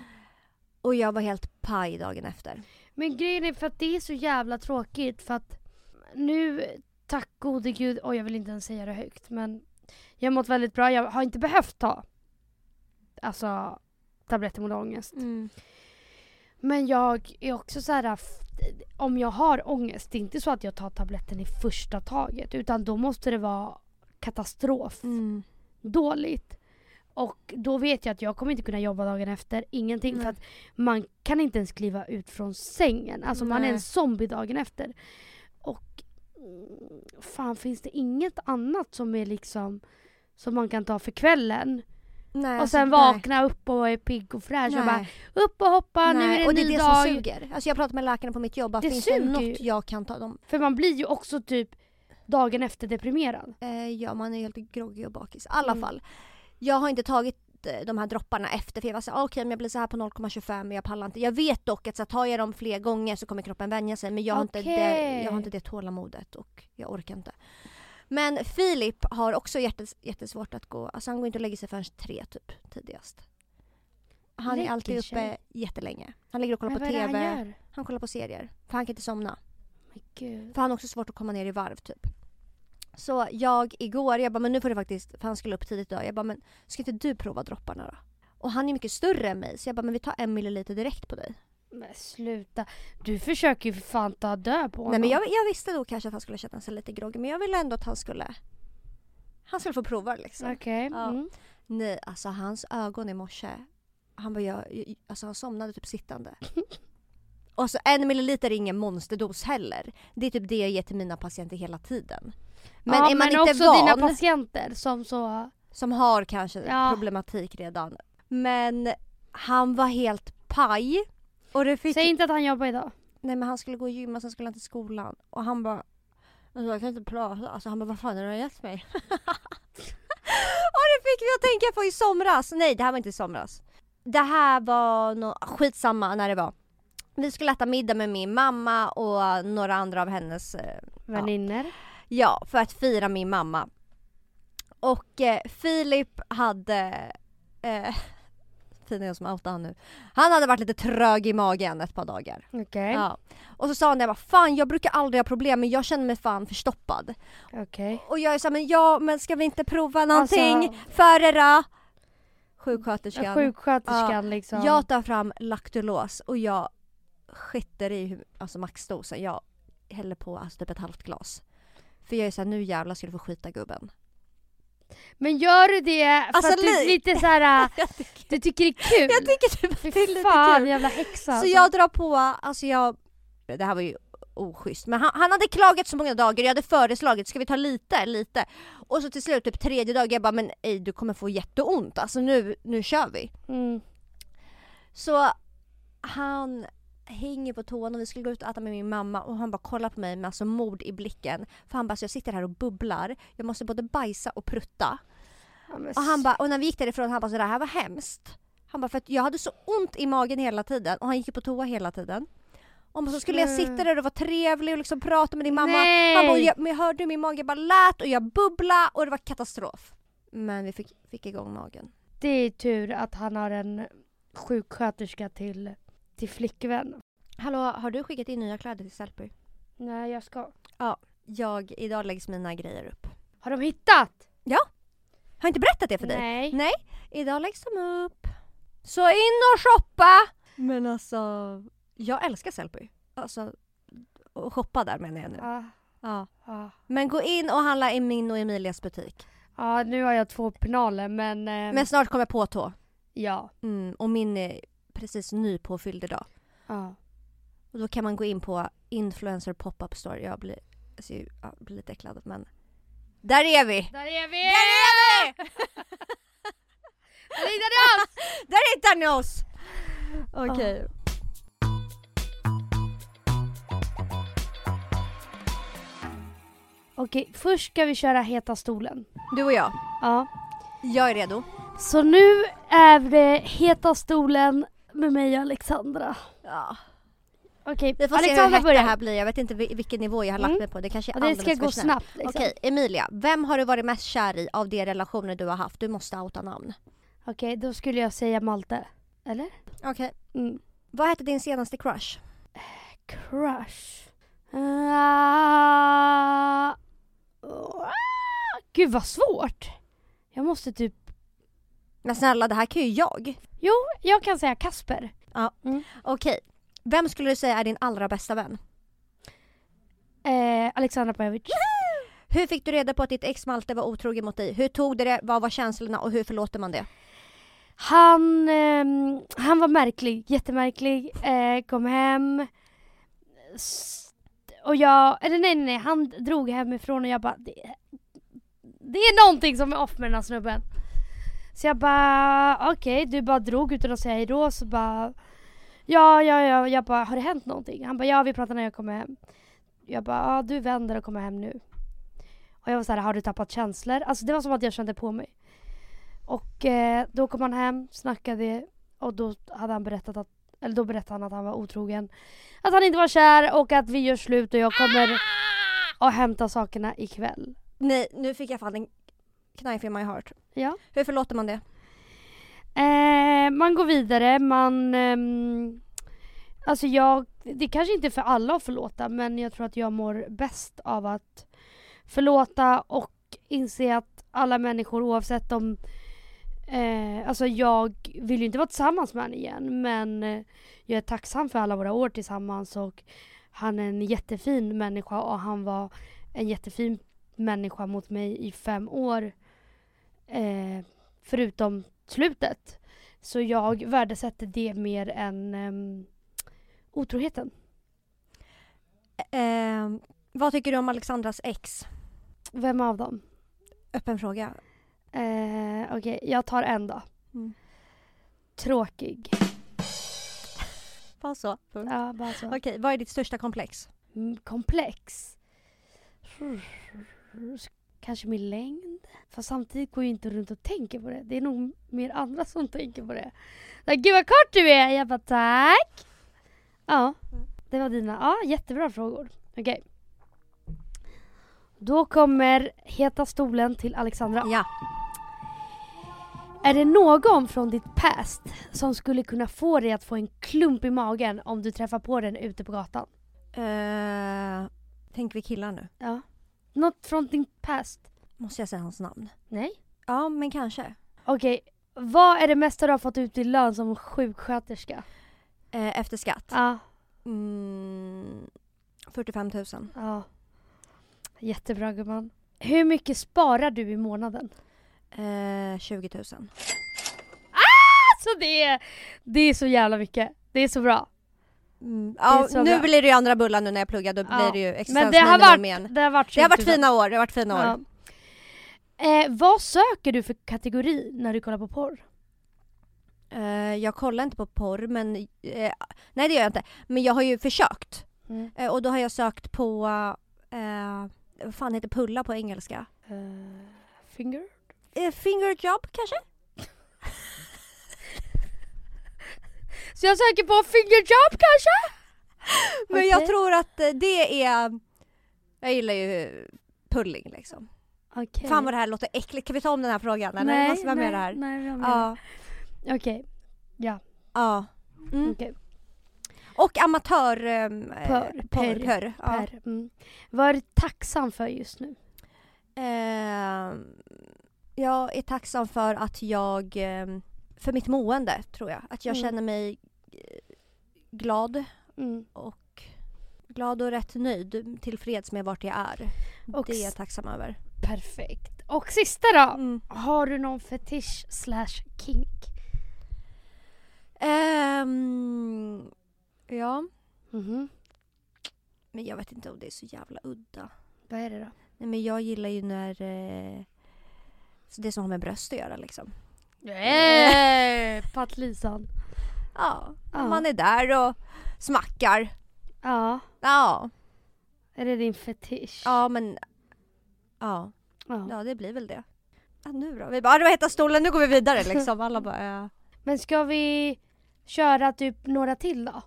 S2: Och jag var helt paj dagen efter.
S1: Men grejen är för att det är så jävla tråkigt för att nu, tack gode gud, oj jag vill inte ens säga det högt men jag har mått väldigt bra, jag har inte behövt ta alltså tabletter mot ångest. Men jag är också så här f- om jag har ångest, det är inte så att jag tar tabletten i första taget utan då måste det vara katastrof,
S2: Mm.
S1: dåligt. Och då vet jag att jag kommer inte kunna jobba dagen efter, ingenting.
S2: Nej.
S1: För att man kan inte ens kliva ut från sängen. Alltså man är
S2: Nej.
S1: en zombie dagen efter. Och mm, fan finns det inget annat som är liksom som man kan ta för kvällen
S2: Nej,
S1: och sen
S2: alltså, nej.
S1: vakna upp och är pigg och fräsch och
S2: Nej.
S1: bara upp och hoppa, nu
S2: Nej,
S1: är det en
S2: och det är
S1: ny
S2: det
S1: dag.
S2: som suger. Alltså jag pratar med läkarna på mitt jobb, bara,
S1: Det
S2: finns det
S1: suger
S2: något
S1: ju.
S2: jag kan ta? De,
S1: För man blir ju också typ dagen efter deprimerad.
S2: Eh, ja, man är helt groggy och bakis. I alla
S1: Mm.
S2: fall. Jag har inte tagit eh, de här dropparna efter för jag var såhär, ah, okej men jag blir så här på 0,25 men jag pallar inte. Jag vet dock att så här, tar jag dem fler gånger så kommer kroppen vänja sig men jag har, inte, det,
S1: Okej.
S2: jag har inte det tålamodet och jag orkar inte. Men Filip har också jättes, jättesvårt att gå, alltså han går inte och lägger sig förrän tre typ tidigast. Han
S1: Lägger
S2: är alltid uppe
S1: sig?
S2: jättelänge. Han ligger och kollar på
S1: vad är det
S2: TV,
S1: han
S2: han,
S1: gör?
S2: kollar på serier. För han kan inte somna.
S1: Men gud.
S2: För han har också svårt att komma ner i varv typ. Så jag igår, jag bara men nu får du faktiskt, för han skulle upp tidigt idag. Jag bara men ska inte du prova dropparna då? Och han är mycket större än mig så jag bara men vi tar en milliliter direkt på dig.
S1: Men sluta. Du försöker ju för fan ta död på
S2: Nej
S1: honom.
S2: men jag, jag visste då kanske att han skulle känna sig lite groggy men jag ville ändå att han skulle Han skulle få prova liksom.
S1: Okej.
S2: Ja.
S1: Mm.
S2: Nej alltså hans ögon i morse. Han bara jag, alltså han somnade typ sittande. Och så en milliliter är ingen monsterdos heller. Det är typ det jag ger till mina patienter hela tiden. Men
S1: ja,
S2: är man
S1: men
S2: inte
S1: också
S2: van,
S1: dina patienter som så...
S2: som har kanske
S1: Ja.
S2: problematik redan. Men han var helt paj. Och det fick...
S1: Säg inte att han jobbar idag.
S2: Nej men han skulle gå och gymma, sen skulle han till skolan. Och han bara... Alltså, jag kan inte prata. Alltså han bara, vad fan har du gett mig? och det fick vi att tänka på i somras. Nej det här var inte i somras. det här var nå skitsamma när det var. Vi skulle äta middag med min mamma och några andra av hennes eh,
S1: Väninnor.
S2: Ja, för att fira min mamma. Och eh, Filip hade... Eh, fin är jag som outar han nu. Han hade varit lite trög i magen ett par dagar.
S1: Okej.
S2: Ja. Och så sa han det, jag bara, fan jag brukar aldrig ha problem men jag känner mig fan förstoppad.
S1: Okej.
S2: Och jag är såhär, men ja men ska vi inte prova någonting
S1: Alltså-
S2: före då? Sjuksköterskan.
S1: Sjuksköterskan
S2: Ja.
S1: liksom.
S2: Jag tar fram laktulos och jag skiter i hur, alltså maxdosen. Jag häller på alltså typ ett halvt glas. För jag är såhär, nu jävlar ska du få skita gubben.
S1: Men gör du det för
S2: Alltså,
S1: att du
S2: li-
S1: lite så här, äh,
S2: Jag tycker,
S1: du tycker det är kul?
S2: jag tycker typ alltså? att det är lite
S1: fan,
S2: kul.
S1: jävla häxa.
S2: Så jag drar på, alltså jag, det här var ju oschysst men han, han hade klagat så många dagar jag hade föreslagit ska vi ta lite, lite och så till slut typ tredje dagen jag bara men ej du kommer få jätteont alltså nu, nu kör vi.
S1: Mm.
S2: Så han hänger på tån och vi skulle gå ut och äta med min mamma och han bara kollar på mig med alltså mord i blicken. För han bara, så jag sitter här och bubblar. Jag måste både bajsa och prutta.
S1: Ja, men
S2: Och han bara, och när vi gick därifrån han bara, så det här var hemskt. Han bara, för att jag hade så ont i magen hela tiden och han gick ju på toa hela tiden. Och så skulle jag sitta där och vara trevlig och liksom prata med din mamma.
S1: Nej.
S2: Han bara, och jag, men jag hörde hur min mage bara lät och jag bubblade och det var katastrof. Men vi fick, fick igång magen.
S1: Det är tur att han har en sjuksköterska till, till flickvän.
S2: Hallå, har du skickat in nya kläder till Sellpy?
S1: Nej, jag ska.
S2: jag, idag läggs mina grejer upp.
S1: Har de hittat?
S2: Har jag inte berättat det för dig? Mm.
S1: Nej.
S2: Nej. Idag läggs de upp. Så in och shoppa! Men alltså, jag älskar Sellpy. Alltså, och shoppa där menar jag nu.
S1: Ja,
S2: Ja.
S1: ja.
S2: Men gå in och handla i min och Emilias butik.
S1: ja, nu har jag två penaler men... eh,
S2: Men snart kommer på tå.
S1: Ja.
S2: Mm, och min är precis nypåfylld idag.
S1: ja.
S2: Och då kan man gå in på influencer pop-up store. Jag blir, alltså, jag blir lite äcklad men där är vi!
S1: Där är vi!
S2: Där är vi!
S1: Där hittade oss!
S2: Där hittar ni oss! Okej.
S1: Okej, först ska vi köra Heta stolen.
S2: Du och jag.
S1: Ja.
S2: Jag är redo.
S1: Så nu är det Heta stolen med mig och Alexandra.
S2: Ja.
S1: Okej,
S2: Vi får se hur
S1: Alexandra
S2: hett det
S1: börjar.
S2: här blir. Jag vet inte vil- vilken nivå jag har lagt
S1: Mm.
S2: mig på. Det kanske är
S1: Ja, det ska
S2: alldeles
S1: gå
S2: för snabbt.
S1: snabbt liksom.
S2: Okej, Emilia. Vem har du varit mest kär i av de relationer du har haft? Du måste outa namn.
S1: Okej, då skulle jag säga Malte. Eller?
S2: Okej.
S1: Mm.
S2: Vad hette din senaste crush?
S1: Crush. Ah. Ah. Gud vad svårt. Jag måste typ...
S2: Men snälla, det här kan ju jag.
S1: Jo, jag kan säga Kasper.
S2: Okej. Vem skulle du säga är din allra bästa vän?
S1: Eh, Alexandra Pajovic.
S2: Hur fick du reda på att ditt ex Malte var otrogen mot dig? Hur tog du det? Vad var känslorna och hur förlåter man det?
S1: Han, ehm, han var märklig, jättemärklig. Eh, kom hem. S- Och jag, eller nej nej nej, han drog hemifrån och jag bara det, det är någonting som är off med den här snubben. Så jag bara okej, du bara drog utan att säga hejdå så bara ja ja ja, jag bara har det hänt någonting? Han bara ja vi pratar när jag kommer hem. Jag bara ja du vänder och kommer hem nu. Och jag var så här har du tappat känslor? Alltså det var som att jag kände på mig. Och eh, då kom han hem, snackade och då hade han berättat att eller då berättade han att han var otrogen. Att han inte var kär och att vi gör slut och jag kommer och hämta sakerna ikväll.
S2: Nej, nu fick jag fan en knife in my heart.
S1: Ja.
S2: Hur förlåter man det?
S1: Eh, man går vidare, man... ehm, alltså jag... Det kanske inte är för alla att förlåta men jag tror att jag mår bäst av att förlåta och inse att alla människor oavsett om... Eh, alltså jag vill ju inte vara tillsammans med honom igen men eh, jag är tacksam för alla våra år tillsammans och han är en jättefin människa och han var en jättefin människa mot mig i fem år. Eh, förutom slutet. Så jag värdesätter det mer än ehm, otroheten.
S2: Ehm, vad tycker du om Alexandras ex?
S1: Vem av dem?
S2: Öppen fråga.
S1: Eh, Okej, jag tar en då.
S2: Mm.
S1: Tråkig.
S2: Bara så.
S1: Ja, bara så.
S2: Okej, vad är ditt största komplex?
S1: Mm, komplex. Kanske min längd. Fast samtidigt går jag inte runt och tänker på det. Det är nog mer andra som tänker på det. Så, här, Gud vad kort du är! Jag bara tack! Ja, det var dina. Ja, jättebra frågor. Okej. Då kommer Heta stolen till Alexandra.
S2: Ja.
S1: Är det någon från ditt past som skulle kunna få dig att få en klump i magen om du träffar på den ute på gatan?
S2: Eh, tänk vi killar nu.
S1: Ja. Något från din past?
S2: Måste jag säga hans namn?
S1: Nej.
S2: Ja, men kanske.
S1: Okej, vad är det mesta du har fått ut i lön som sjuksköterska?
S2: Eh, efter skatt.
S1: Ja.
S2: Mm, 45 000.
S1: ja. Jättebra gumman. Hur mycket sparar du i månaden?
S2: Eh, 20 000.
S1: Alltså det är, det är så jävla mycket. Det är så bra.
S2: Mm.
S1: Det
S2: Ja,
S1: är så
S2: nu
S1: bra.
S2: blir det ju andra bullar nu när jag pluggar. Då
S1: Ja.
S2: blir det ju
S1: Men det har
S2: existensminimum
S1: varit,
S2: igen.
S1: det har varit,
S2: Det har varit
S1: 20 000.
S2: fina år. Det har varit fina år.
S1: Ja. Eh, vad söker du för kategori när du kollar på porr?
S2: Eh, jag kollar inte på porr men... Eh, nej det gör jag inte. Men jag har ju försökt.
S1: Mm.
S2: Eh, och då har jag sökt på... Eh, vad fan heter pulla på engelska?
S1: Eh, finger?
S2: Eh, fingerjob kanske?
S1: Så jag söker på fingerjob kanske?
S2: Men
S1: Okej.
S2: jag tror att eh, det är... Jag gillar ju pulling liksom.
S1: Okej.
S2: Fan vad det här låter äckligt. Kan vi ta om den här frågan? Eller?
S1: nej,
S2: Måste vi ha
S1: nej,
S2: med det här?
S1: Nej, vi har med
S2: Ja.
S1: det. Okej,
S2: ja. Mm.
S1: okej.
S2: Och amatör... Eh,
S1: Pör.
S2: Porr.
S1: Pör.
S2: Pör. Ja.
S1: Per. Mm. Vad är du tacksam för just nu?
S2: Ehm, jag är tacksam för att jag, ehm, för mitt mående tror jag. Att jag
S1: Mm.
S2: känner mig eh, glad,
S1: Mm.
S2: glad och rätt nöjd, tillfreds med vart jag är.
S1: Och
S2: det är
S1: s-
S2: jag tacksam över.
S1: Perfekt. Och sista då.
S2: Mm.
S1: Har du någon fetisch slash kink?
S2: Ehm, ja,
S1: Mhm.
S2: men jag vet inte om det är så jävla udda.
S1: Vad är det då?
S2: Nej, men jag gillar ju när eh, så det som har med bröst att göra liksom.
S1: Nej! Pattlisan.
S2: Ja,
S1: Eh. Ja.
S2: man är där och smackar.
S1: Ja.
S2: Ja,
S1: Är det din fetisch?
S2: ja men ja.
S1: Ja.
S2: Ja, det blir väl det. Ja, nu då? Vi bara, "Ah, det var heta stolen, nu går vi vidare liksom. Alla bara, ja.
S1: Men ska vi köra typ några till då?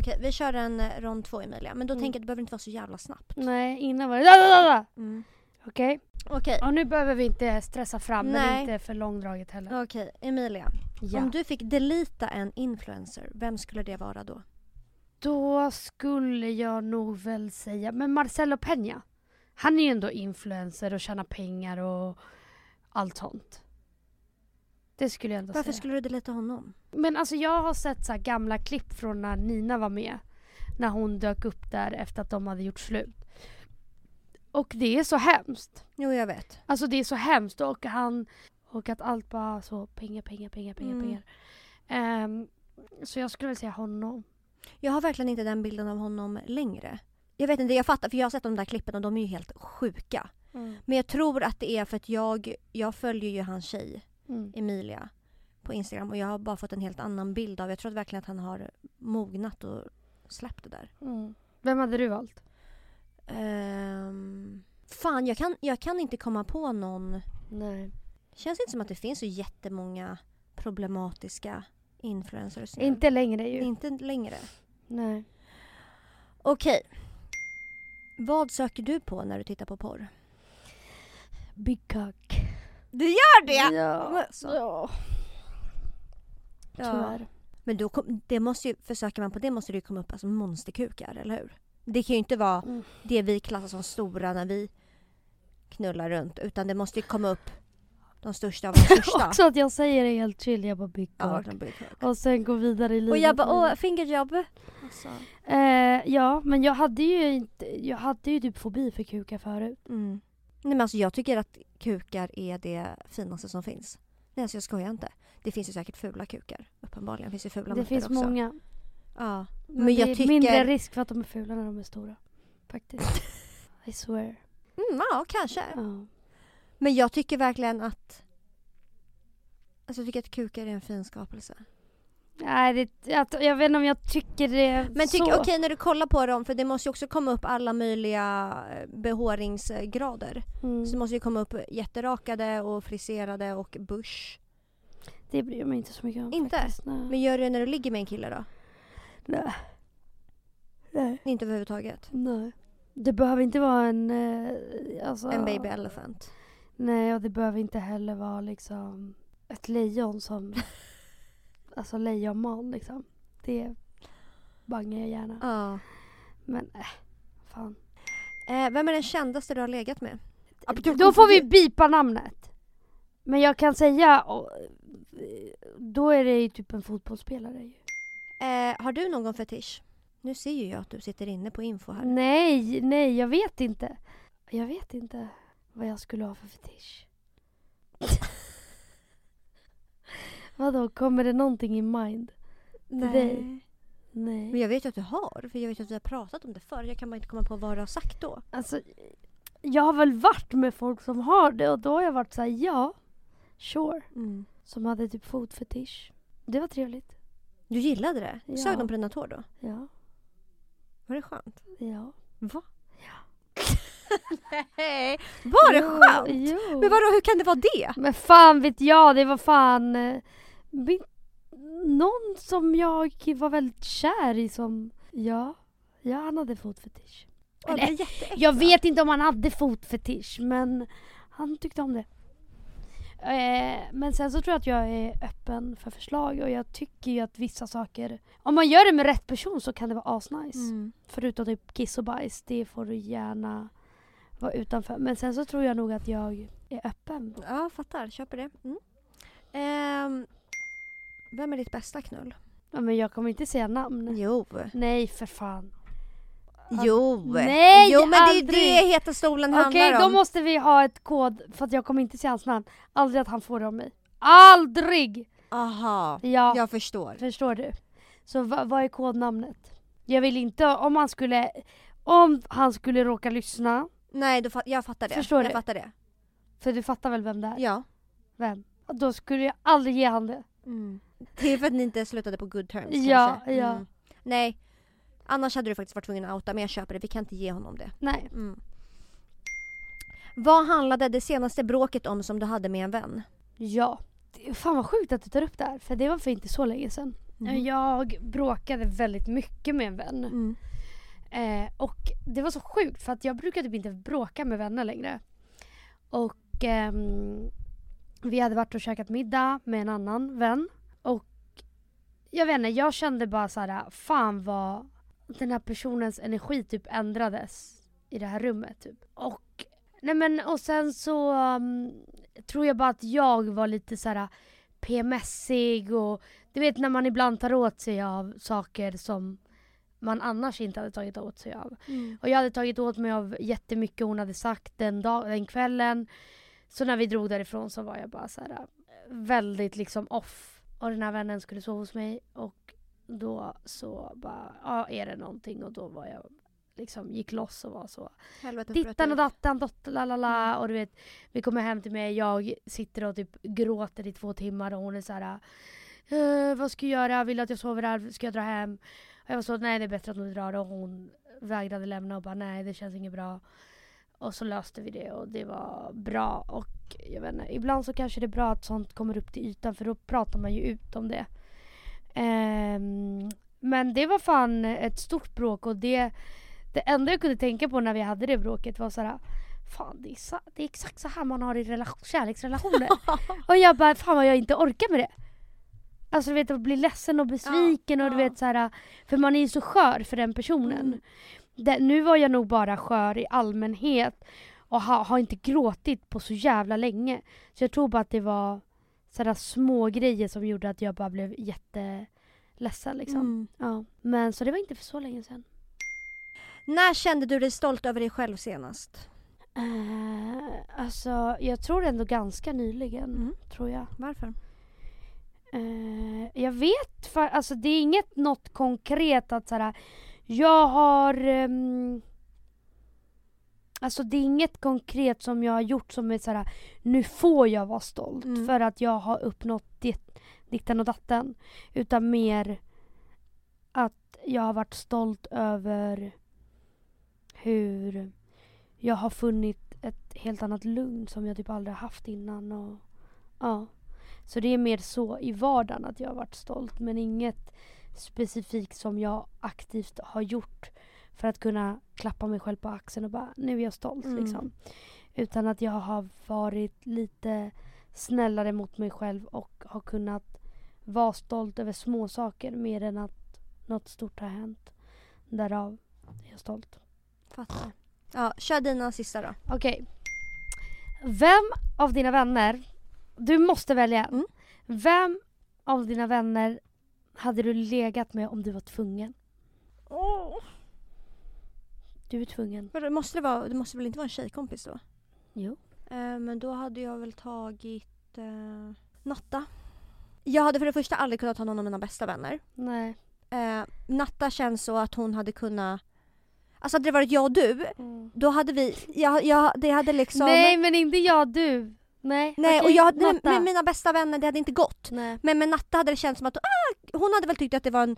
S2: Okej, vi kör en eh, rond två Emilia. Men då
S1: Mm.
S2: tänker jag att det behöver inte vara så jävla snabbt.
S1: Nej, innan var det... Da, da, da, da.
S2: Mm.
S1: Okej.
S2: Okej,
S1: Och nu behöver vi inte stressa fram, men
S2: Nej.
S1: inte för långdraget heller.
S2: okej Emilia. Om
S1: Ja.
S2: du fick delita en influencer, vem skulle det vara då?
S1: Då skulle jag nog väl säga, men Marcelo Peña. Han är ju ändå influencer och tjänar pengar och allt sånt. Det skulle jag ändå
S2: Varför
S1: säga.
S2: skulle du delita honom?
S1: Men alltså jag har sett så här gamla klipp från när Nina var med. När hon dök upp där efter att de hade gjort slut. Och det är så hemskt.
S2: Jo, jag vet.
S1: Alltså det är så hemskt och han och att allt bara så pengar, pengar, pengar, pengar,
S2: Mm.
S1: pengar. Ehm, så jag skulle väl säga honom.
S2: Jag har verkligen inte den bilden av honom längre. Jag vet inte, jag fattar för jag har sett de där klippen och de är ju helt sjuka. Men jag tror att det är för att jag, jag följer ju hans tjej
S1: Mm.
S2: Emilia på Instagram och jag har bara fått en helt annan bild av. Jag tror att verkligen att han har mognat och släppt det där.
S1: Mm. Vem hade du valt?
S2: Ehm, fan, jag kan, jag kan inte komma på någon.
S1: Nej.
S2: Känns inte som att det finns så jättemånga problematiska influencers nu.
S1: Inte längre ju.
S2: inte längre.
S1: Nej.
S2: Okej. Vad söker du på när du tittar på porr?
S1: Big cock.
S2: Du gör
S1: Ja.
S2: Så.
S1: ja. Tyvärr.
S2: Men då kom, det måste ju, försöker man på det måste det ju komma upp alltså monsterkukar, eller hur? Det kan ju inte vara
S1: Mm.
S2: det vi klassar som stora när vi knullar runt utan det måste ju komma upp de största av de största.
S1: Också att jag säger det helt chill, jag bara big
S2: Ja,
S1: cock.
S2: de blir Mm. kuk.
S1: Och sen gå vidare i livet.
S2: och jag bara
S1: med det.
S2: åh, fingerjobb. Alltså.
S1: Eh, ja, men jag hade ju inte, jag hade ju typ fobi för kukar förut.
S2: Mm. Nej men alltså jag tycker att kukar är det finaste som finns. Nej alltså jag skojar inte. Det finns ju säkert fula kukar. Uppenbarligen finns ju fula
S1: det
S2: muttar
S1: finns
S2: också.
S1: många.
S2: Ja.
S1: Men,
S2: Men
S1: det
S2: jag
S1: är
S2: tycker-
S1: mindre risk för att de är fula när de är stora. Faktiskt. I swear.
S2: Mm, ja, kanske.
S1: Ja.
S2: Men jag tycker verkligen att... Alltså jag tycker att kukar är en fin skapelse.
S1: Nej, det, jag, jag vet inte om jag tycker det
S2: Men tyck,
S1: så.
S2: okej när du kollar på dem, för det måste ju också komma upp alla möjliga eh, behåringsgrader.
S1: Mm,
S2: Så det måste ju komma upp jätterakade och friserade och bush.
S1: det bryr jag mig inte så mycket om
S2: Inte?
S1: Faktiskt, nej.
S2: Men gör du det när du ligger med en kille då?
S1: nej. nej.
S2: Inte överhuvudtaget?
S1: Nej. Det behöver inte vara en... eh, Alltså,
S2: En baby elephant?
S1: Nej, och det behöver inte heller vara liksom ett lejon som... alltså lejonman liksom. Det bangar jag gärna.
S2: Ja.
S1: Men äh, fan.
S2: Eh, vem är den kändaste du har legat med?
S1: Då får vi bipa namnet. Men jag kan säga... och, eh, Då är det ju typ en fotbollsspelare ju.
S2: Eh, har du någon fetisch? Nu ser ju jag att du sitter inne på info här.
S1: Nej, nej, jag vet inte. Jag vet inte vad jag skulle ha för fetisch. Vadå, kommer det någonting i mind? dig.
S2: Men
S1: Nej.
S2: jag vet ju att du har, för jag vet ju att vi har pratat om det förr. Jag kan bara inte komma på vad du har sagt då.
S1: Alltså, jag har väl varit med folk som har det och då har jag varit så här, ja, sure.
S2: Mm.
S1: Som hade typ fotfetisch. Det var trevligt.
S2: Du gillade det?
S1: Ja.
S2: Sög de på dina tår då?
S1: Ja,
S2: Var det skönt? Mm.
S1: ja.
S2: Va? Nej, var det skönt?
S1: Jo.
S2: Men vadå, hur kan det vara det?
S1: Men fan vet jag, det var fan eh, min, någon som jag var väldigt kär i som, ja, ja han hade fotfetisch.
S2: Ja, det
S1: Eller,
S2: är jätteäckligt.
S1: Jag vet inte om han hade fotfetisch men han tyckte om det. Eh, men sen så tror jag att jag är öppen för förslag och jag tycker ju att vissa saker, om man gör det med rätt person så kan det vara asnice.
S2: Mm.
S1: Förutom typ kiss och bajs, det får du gärna vara utanför. Men sen så tror jag nog att jag är öppen.
S2: Ja, jag fattar. Köper det. Mm. Ehm, vem är ditt bästa knull?
S1: Ja, men jag kommer inte säga namn.
S2: Jo.
S1: Nej för fan.
S2: Jo.
S1: Nej,
S2: jo, men det är ju
S1: aldrig.
S2: det Heta stolen
S1: Okej
S2: handlar
S1: då
S2: om.
S1: måste vi ha ett kod för att jag kommer inte säga hans namn. Aldrig att han får det av mig. ALDRIG!
S2: Aha,
S1: Ja,
S2: jag förstår.
S1: förstår du? Så va, vad är kodnamnet? Jag vill inte, om han skulle, om han skulle råka lyssna,
S2: Nej, då fa- jag fattar det.
S1: Förstår
S2: jag
S1: du?
S2: fattar det.
S1: för du fattar väl vem det är?
S2: Ja.
S1: Vem? Då skulle jag aldrig ge han det.
S2: Det är för att ni inte slutade på good terms
S1: Mm. Ja,
S2: kanske. Mm.
S1: ja.
S2: Nej. Annars hade du faktiskt varit tvungen att outa, men jag köper det. Vi kan inte ge honom det.
S1: Nej.
S2: Mm. Vad handlade det senaste bråket om som du hade med en vän?
S1: Ja. Det- Fan vad sjukt att du tar upp det här, för det var för inte så länge sedan.
S2: Mm.
S1: Jag bråkade väldigt mycket med en vän.
S2: Mm.
S1: Eh, och det var så sjukt för att jag brukar typ inte bråka med vänner längre. Och ehm, vi hade varit och käkat middag med en annan vän. Och jag vet inte, jag kände bara så här, fan vad den här personens energi typ ändrades i det här rummet. Typ. Och, nej men, och sen så ehm, tror jag bara att jag var lite så här PMSig och du vet när man ibland tar åt sig av saker som man annars inte hade tagit åt sig av.
S2: Mm.
S1: Och jag hade tagit åt mig av jättemycket hon hade sagt den, dag, den kvällen. Så när vi drog därifrån så var jag bara så här eh, väldigt liksom off. Och den här vännen skulle sova hos mig och då så bara, ja är det någonting? Och då var jag liksom gick loss och var så.
S2: Helvetet bröt
S1: Dittan och
S2: ut.
S1: dattan, dott, la la la. Och du vet, vi kommer hem till mig, jag sitter och typ gråter i två timmar och hon är så här. "Eh, vad ska jag göra? Vill du att jag sover här? Ska jag dra hem? Och jag var så, nej det är bättre att du drar. Och hon vägrade lämna och bara, nej det känns inget bra. Och så löste vi det och det var bra. Och jag vet inte, ibland så kanske det är bra att sånt kommer upp till ytan för då pratar man ju ut om det. Ehm, men det var fan ett stort bråk och det det enda jag kunde tänka på när vi hade det bråket var såhär Fan det är, sa- det är exakt så här man har i relation- kärleksrelationer. och jag bara fan vad jag inte orkar med det. Alltså du vet att bli ledsen och besviken och du
S2: ja.
S1: vet så här För man är ju så skör för den personen.
S2: Mm.
S1: Det, nu var jag nog bara skör i allmänhet och ha, har inte gråtit på så jävla länge. Så jag tror bara att det var sådana små grejer som gjorde att jag bara blev jätteledsen liksom.
S2: Mm.
S1: Ja. Men så det var inte för så länge sedan.
S2: När kände du dig stolt över dig själv senast?
S1: Eh, alltså, jag tror ändå ganska nyligen,
S2: Mm.
S1: tror jag.
S2: Varför?
S1: Eh, jag vet, för, alltså det är inget något konkret att såhär, jag har ehm, Alltså det är inget konkret som jag har gjort som är så här, nu får jag vara stolt
S2: Mm.
S1: för att jag har uppnått det, ditten och datten. Utan mer att jag har varit stolt över hur jag har funnit ett helt annat lugn som jag typ aldrig haft innan. Och, ja. Så det är mer så i vardagen att jag har varit stolt men inget specifikt som jag aktivt har gjort för att kunna klappa mig själv på axeln och bara nu är jag stolt
S2: Mm.
S1: liksom. Utan att jag har varit lite snällare mot mig själv och har kunnat vara stolt över små saker mer än att något stort har hänt. Därav är jag stolt.
S2: Fattar. Ja, kör dina sista då.
S1: Okej. Vem av dina vänner, du måste välja en.
S2: Mm.
S1: Vem av dina vänner hade du legat med om du var tvungen? Du är tvungen.
S2: Vadå, Måste det, vara, det måste väl inte vara en tjejkompis då?
S1: Jo.
S2: Eh, men då hade jag väl tagit eh, Natta. Jag hade för det första aldrig kunnat ha någon av mina bästa vänner.
S1: Nej.
S2: Eh, Natta känns så att hon hade kunnat... Alltså hade det varit jag och du, då hade vi... Jag, jag, det hade liksom...
S1: Nej men inte jag, du. Nej.
S2: Nej,
S1: okej,
S2: och jag, nej,
S1: Natta.
S2: med mina bästa vänner det hade inte gått.
S1: Nej.
S2: Men med Natta hade det känts som att ah, hon hade väl tyckt att det var en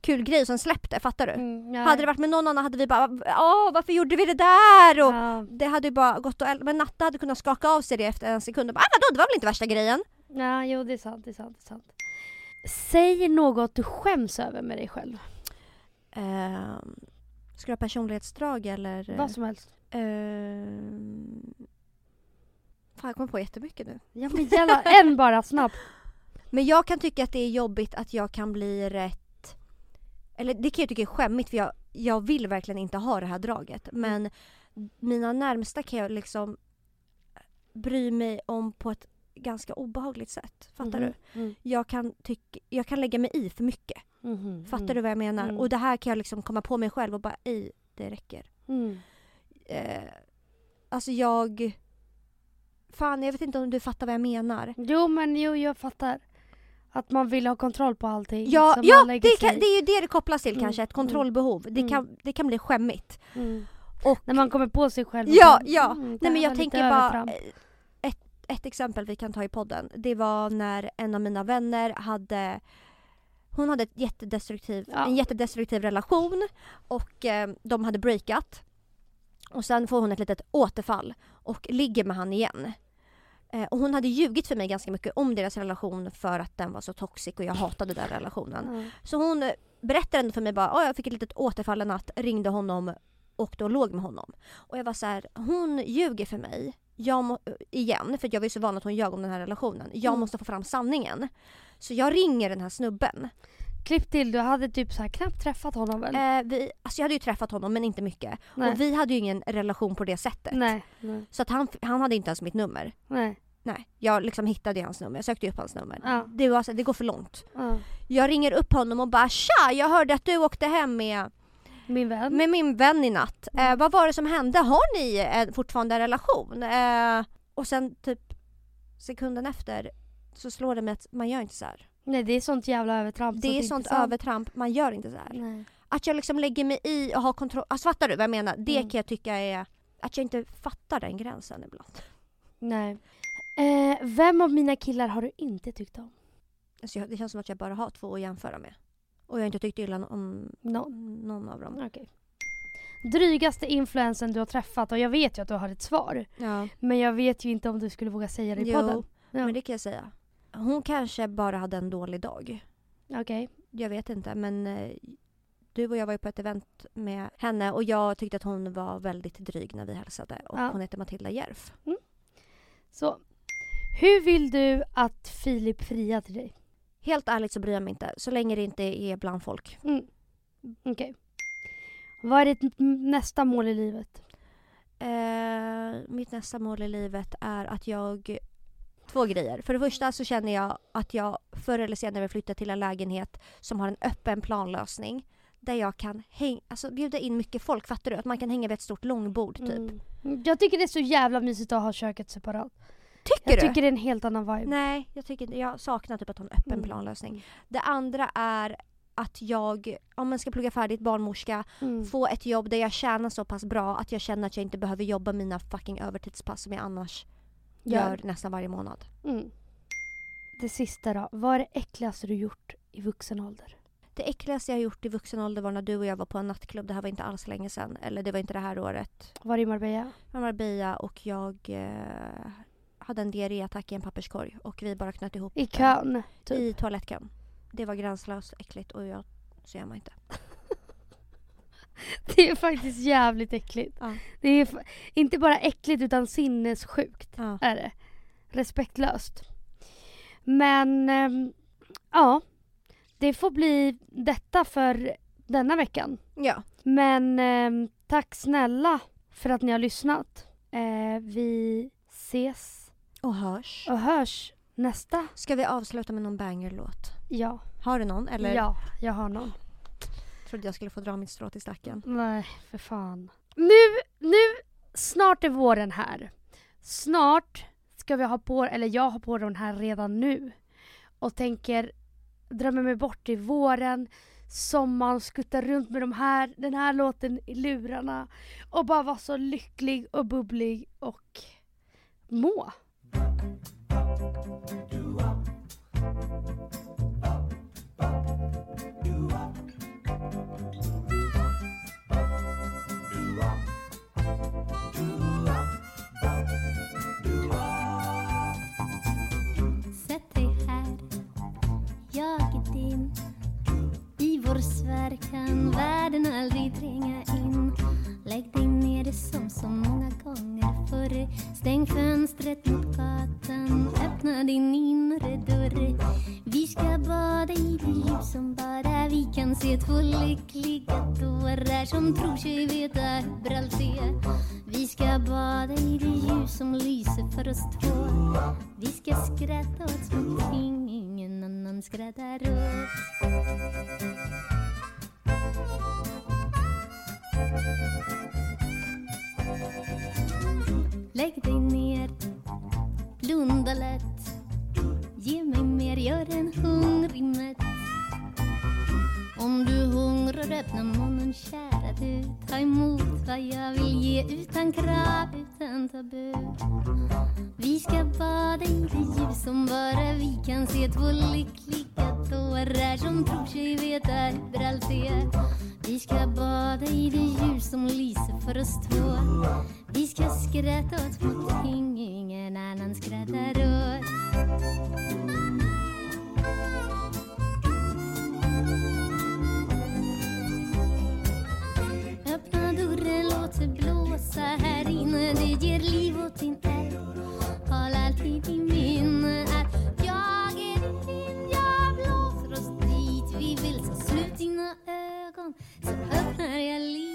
S2: kul grej som släppte, fattar du?
S1: Mm, nej.
S2: Hade det varit med någon annan hade vi bara åh varför gjorde vi det där? Och
S1: Ja.
S2: Det hade ju bara gått och eld- Men Natta hade kunnat skaka av sig det efter en sekund och bara ah, vadå det var väl inte värsta grejen?
S1: ja, jo det är sant, det är sant, det är sant. Säg något du skäms över med dig själv.
S2: Ehm, ska du ha personlighetsdrag eller?
S1: Vad som helst.
S2: Ehm, fan jag kommer på jättemycket nu.
S1: Ja men gärna en bara, snabbt.
S2: Men jag kan tycka att det är jobbigt att jag kan bli rätt... Eller det kan jag tycka är skämmigt för jag, jag vill verkligen inte ha det här draget. Men mina närmsta kan jag liksom bry mig om på ett ganska obehagligt sätt. Fattar du?
S1: Mm.
S2: Jag kan, tyck, jag kan lägga mig i för mycket.
S1: Mhm.
S2: Fattar du vad jag menar?
S1: Mm.
S2: Och det här kan jag liksom komma på mig själv och bara ej, det räcker.
S1: Mm.
S2: Eh, alltså jag... Fan, jag vet inte om du fattar vad jag menar.
S1: Jo men jo, jag fattar. Att man vill ha kontroll på allting.
S2: Ja,
S1: så
S2: ja
S1: man
S2: det,
S1: lägger sig
S2: kan,
S1: i.
S2: det är ju det det kopplas till
S1: Mm,
S2: kanske, ett
S1: mm.
S2: kontrollbehov. Det,
S1: Mm.
S2: kan, det kan bli skämmigt.
S1: Mm.
S2: Och,
S1: När man kommer på sig själv. och
S2: ja,
S1: bara,
S2: ja.
S1: mm, det
S2: Nej,
S1: här
S2: men jag
S1: var lite
S2: tänker bara
S1: övertramp.
S2: eh, ett, ett exempel vi kan ta i podden. Det var när en av mina vänner hade hon hade ett jättedestruktiv,
S1: Ja.
S2: en jättedestruktiv relation och eh, de hade breakat. Och sen får hon ett litet återfall och ligger med han igen. Eh, och hon hade ljugit för mig ganska mycket om deras relation för att den var så toxic och jag hatade den relationen.
S1: Ja.
S2: Så hon eh, berättade ändå för mig bara, "Ja, jag fick ett litet återfall en natt, ringde honom och då låg med honom. Och jag var så här, hon ljuger för mig. Jag må, igen, för jag var ju så van att hon ljög om den här relationen. Jag
S1: Mm.
S2: måste få fram sanningen. Så jag ringer den här snubben.
S1: Klipp till, du hade typ så här knappt träffat honom väl?
S2: Eh, vi, alltså jag hade ju träffat honom men inte mycket.
S1: Mm. Nej.
S2: Eh,
S1: Mm.
S2: Och vi hade ju ingen relation på det sättet.
S1: Nej. Nej.
S2: Så att han, han hade inte ens mitt nummer.
S1: Nej.
S2: Nej, jag liksom hittade ju hans nummer. Jag sökte ju upp hans nummer.
S1: Ja.
S2: Det, var, så- det går för långt.
S1: Ja.
S2: Jag ringer upp honom och bara “tja, jag hörde att du åkte hem med
S1: Min vän.
S2: med min vän i natt.
S1: Mm.
S2: Eh, vad var det som hände? Har ni eh, fortfarande en relation? Eh, och sen typ sekunden efter så slår det mig att man gör inte så här.
S1: Nej det är sånt jävla övertramp. så
S2: Det är
S1: inte
S2: sånt
S1: sant.
S2: övertramp, man gör inte så här.
S1: Nej.
S2: Att jag liksom lägger mig i och har kontroll. Alltså fattar du vad jag menar? Det
S1: Mm.
S2: kan jag tycka är att jag inte fattar den gränsen ibland.
S1: Nej. Eh, vem av mina killar har du inte tyckt om?
S2: Alltså jag, det känns som att jag bara har två att jämföra med. Och jag har inte tyckt illa om
S1: Någon.
S2: någon av dem.
S1: Okej. Drygaste influensen du har träffat och jag vet ju att du har ett svar.
S2: Ja.
S1: Men jag vet ju inte om du skulle våga säga det i
S2: Jo,
S1: podden. Ja.
S2: Men det kan jag säga. Hon kanske bara hade en dålig dag.
S1: Okej.
S2: Jag vet inte men eh, du och jag var ju på ett event med henne och jag tyckte att hon var väldigt dryg när vi hälsade och
S1: Ja.
S2: hon heter Matilda Järf.
S1: Så. Hur vill du att Filip friar till dig?
S2: Helt ärligt så bryr jag mig inte så länge det inte är bland folk.
S1: Mm. Okej. Vad är ditt m- nästa mål i livet?
S2: Eh, mitt nästa mål i livet är att jag... Två grejer. För det första så känner jag att jag förr eller senare vill flytta till en lägenhet som har en öppen planlösning där jag kan häng, alltså bjuda in mycket folk, fattar du? Att man kan hänga vid ett stort långbord typ.
S1: Mm. Jag tycker det är så jävla mysigt att ha köket separat.
S2: Tycker
S1: jag
S2: du?
S1: tycker det är en helt annan vibe.
S2: Nej, jag, tycker, inte- jag saknar typ att ha en öppen
S1: Mm.
S2: planlösning. Det andra är att jag ja, men ska plugga färdigt barnmorska,
S1: Mm.
S2: få ett jobb där jag tjänar så pass bra att jag känner att jag inte behöver jobba mina fucking övertidspass som jag annars
S1: Gör.
S2: gör nästan varje månad.
S1: Mm. Det sista då. Vad är det äckligaste du gjort i vuxen ålder?
S2: Det äckligaste jag har gjort i vuxen ålder var när du och jag var på en nattklubb. Det här var inte alls länge sedan. Eller det var inte det här året.
S1: Var det i Marbella?
S2: Jag var Bea och jag eh, hade en diarréattack i en papperskorg och vi bara knöt ihop
S1: I
S2: den
S1: kön? typ.
S2: i toalettkön. Det var gränslöst äckligt och jag, så gör man inte.
S1: Det är faktiskt jävligt äckligt.
S2: Ja.
S1: Det är f- inte bara äckligt utan sinnessjukt.
S2: Ja.
S1: är det. Respektlöst. Men ehm, ja, det får bli detta för denna veckan.
S2: ja.
S1: Men ehm, tack snälla för att ni har lyssnat. Eh, vi ses
S2: Och hörs.
S1: och hörs nästa.
S2: Ska vi avsluta med någon bangerlåt?
S1: Ja,
S2: Har du någon? Eller
S1: ja, jag har någon.
S2: trodde jag skulle få dra mitt strå till stacken.
S1: Nej, för fan. Nu, nu, snart är våren här. Snart ska vi ha på, eller jag har på den här redan nu. Och tänker drömmer mig bort till våren, sommaren, skutta runt med de här, den här låten i lurarna. Och bara vara så lycklig och bubblig och må.
S4: Sätt dig här, jag är din I vår sfär kan världen aldrig tränga in Lägg dig ner det som så många gånger förr Stäng fönstret mot gatan, öppna din inre dörr Vi ska bada i det ljus som bara vi kan se Två lyckliga dårar som tror sig veta hur allt är Vi ska bada i det ljus som lyser för oss två vi ska skratta åt någonting ingen annan skrattar åt Lägg dig ner, blunda lätt Ge mig mer, gör en hungrig mätt om du hungrar öppna munnen kära du Ta emot vad jag vill ge utan krav, utan tabu vi ska bada i det ljus som bara vi kan se Två lyckliga dårar som tror sig veta hur allt är Vi ska bada i det ljus som lyser för oss två Vi ska skratta åt någonting ingen annan skrattar åt Öppna dörren, låt det blåsa här inne Det ger liv åt din eld Håll alltid i minne att jag är din Jag blåser oss dit vi vill Så slut dina ögon så öppnar jag livet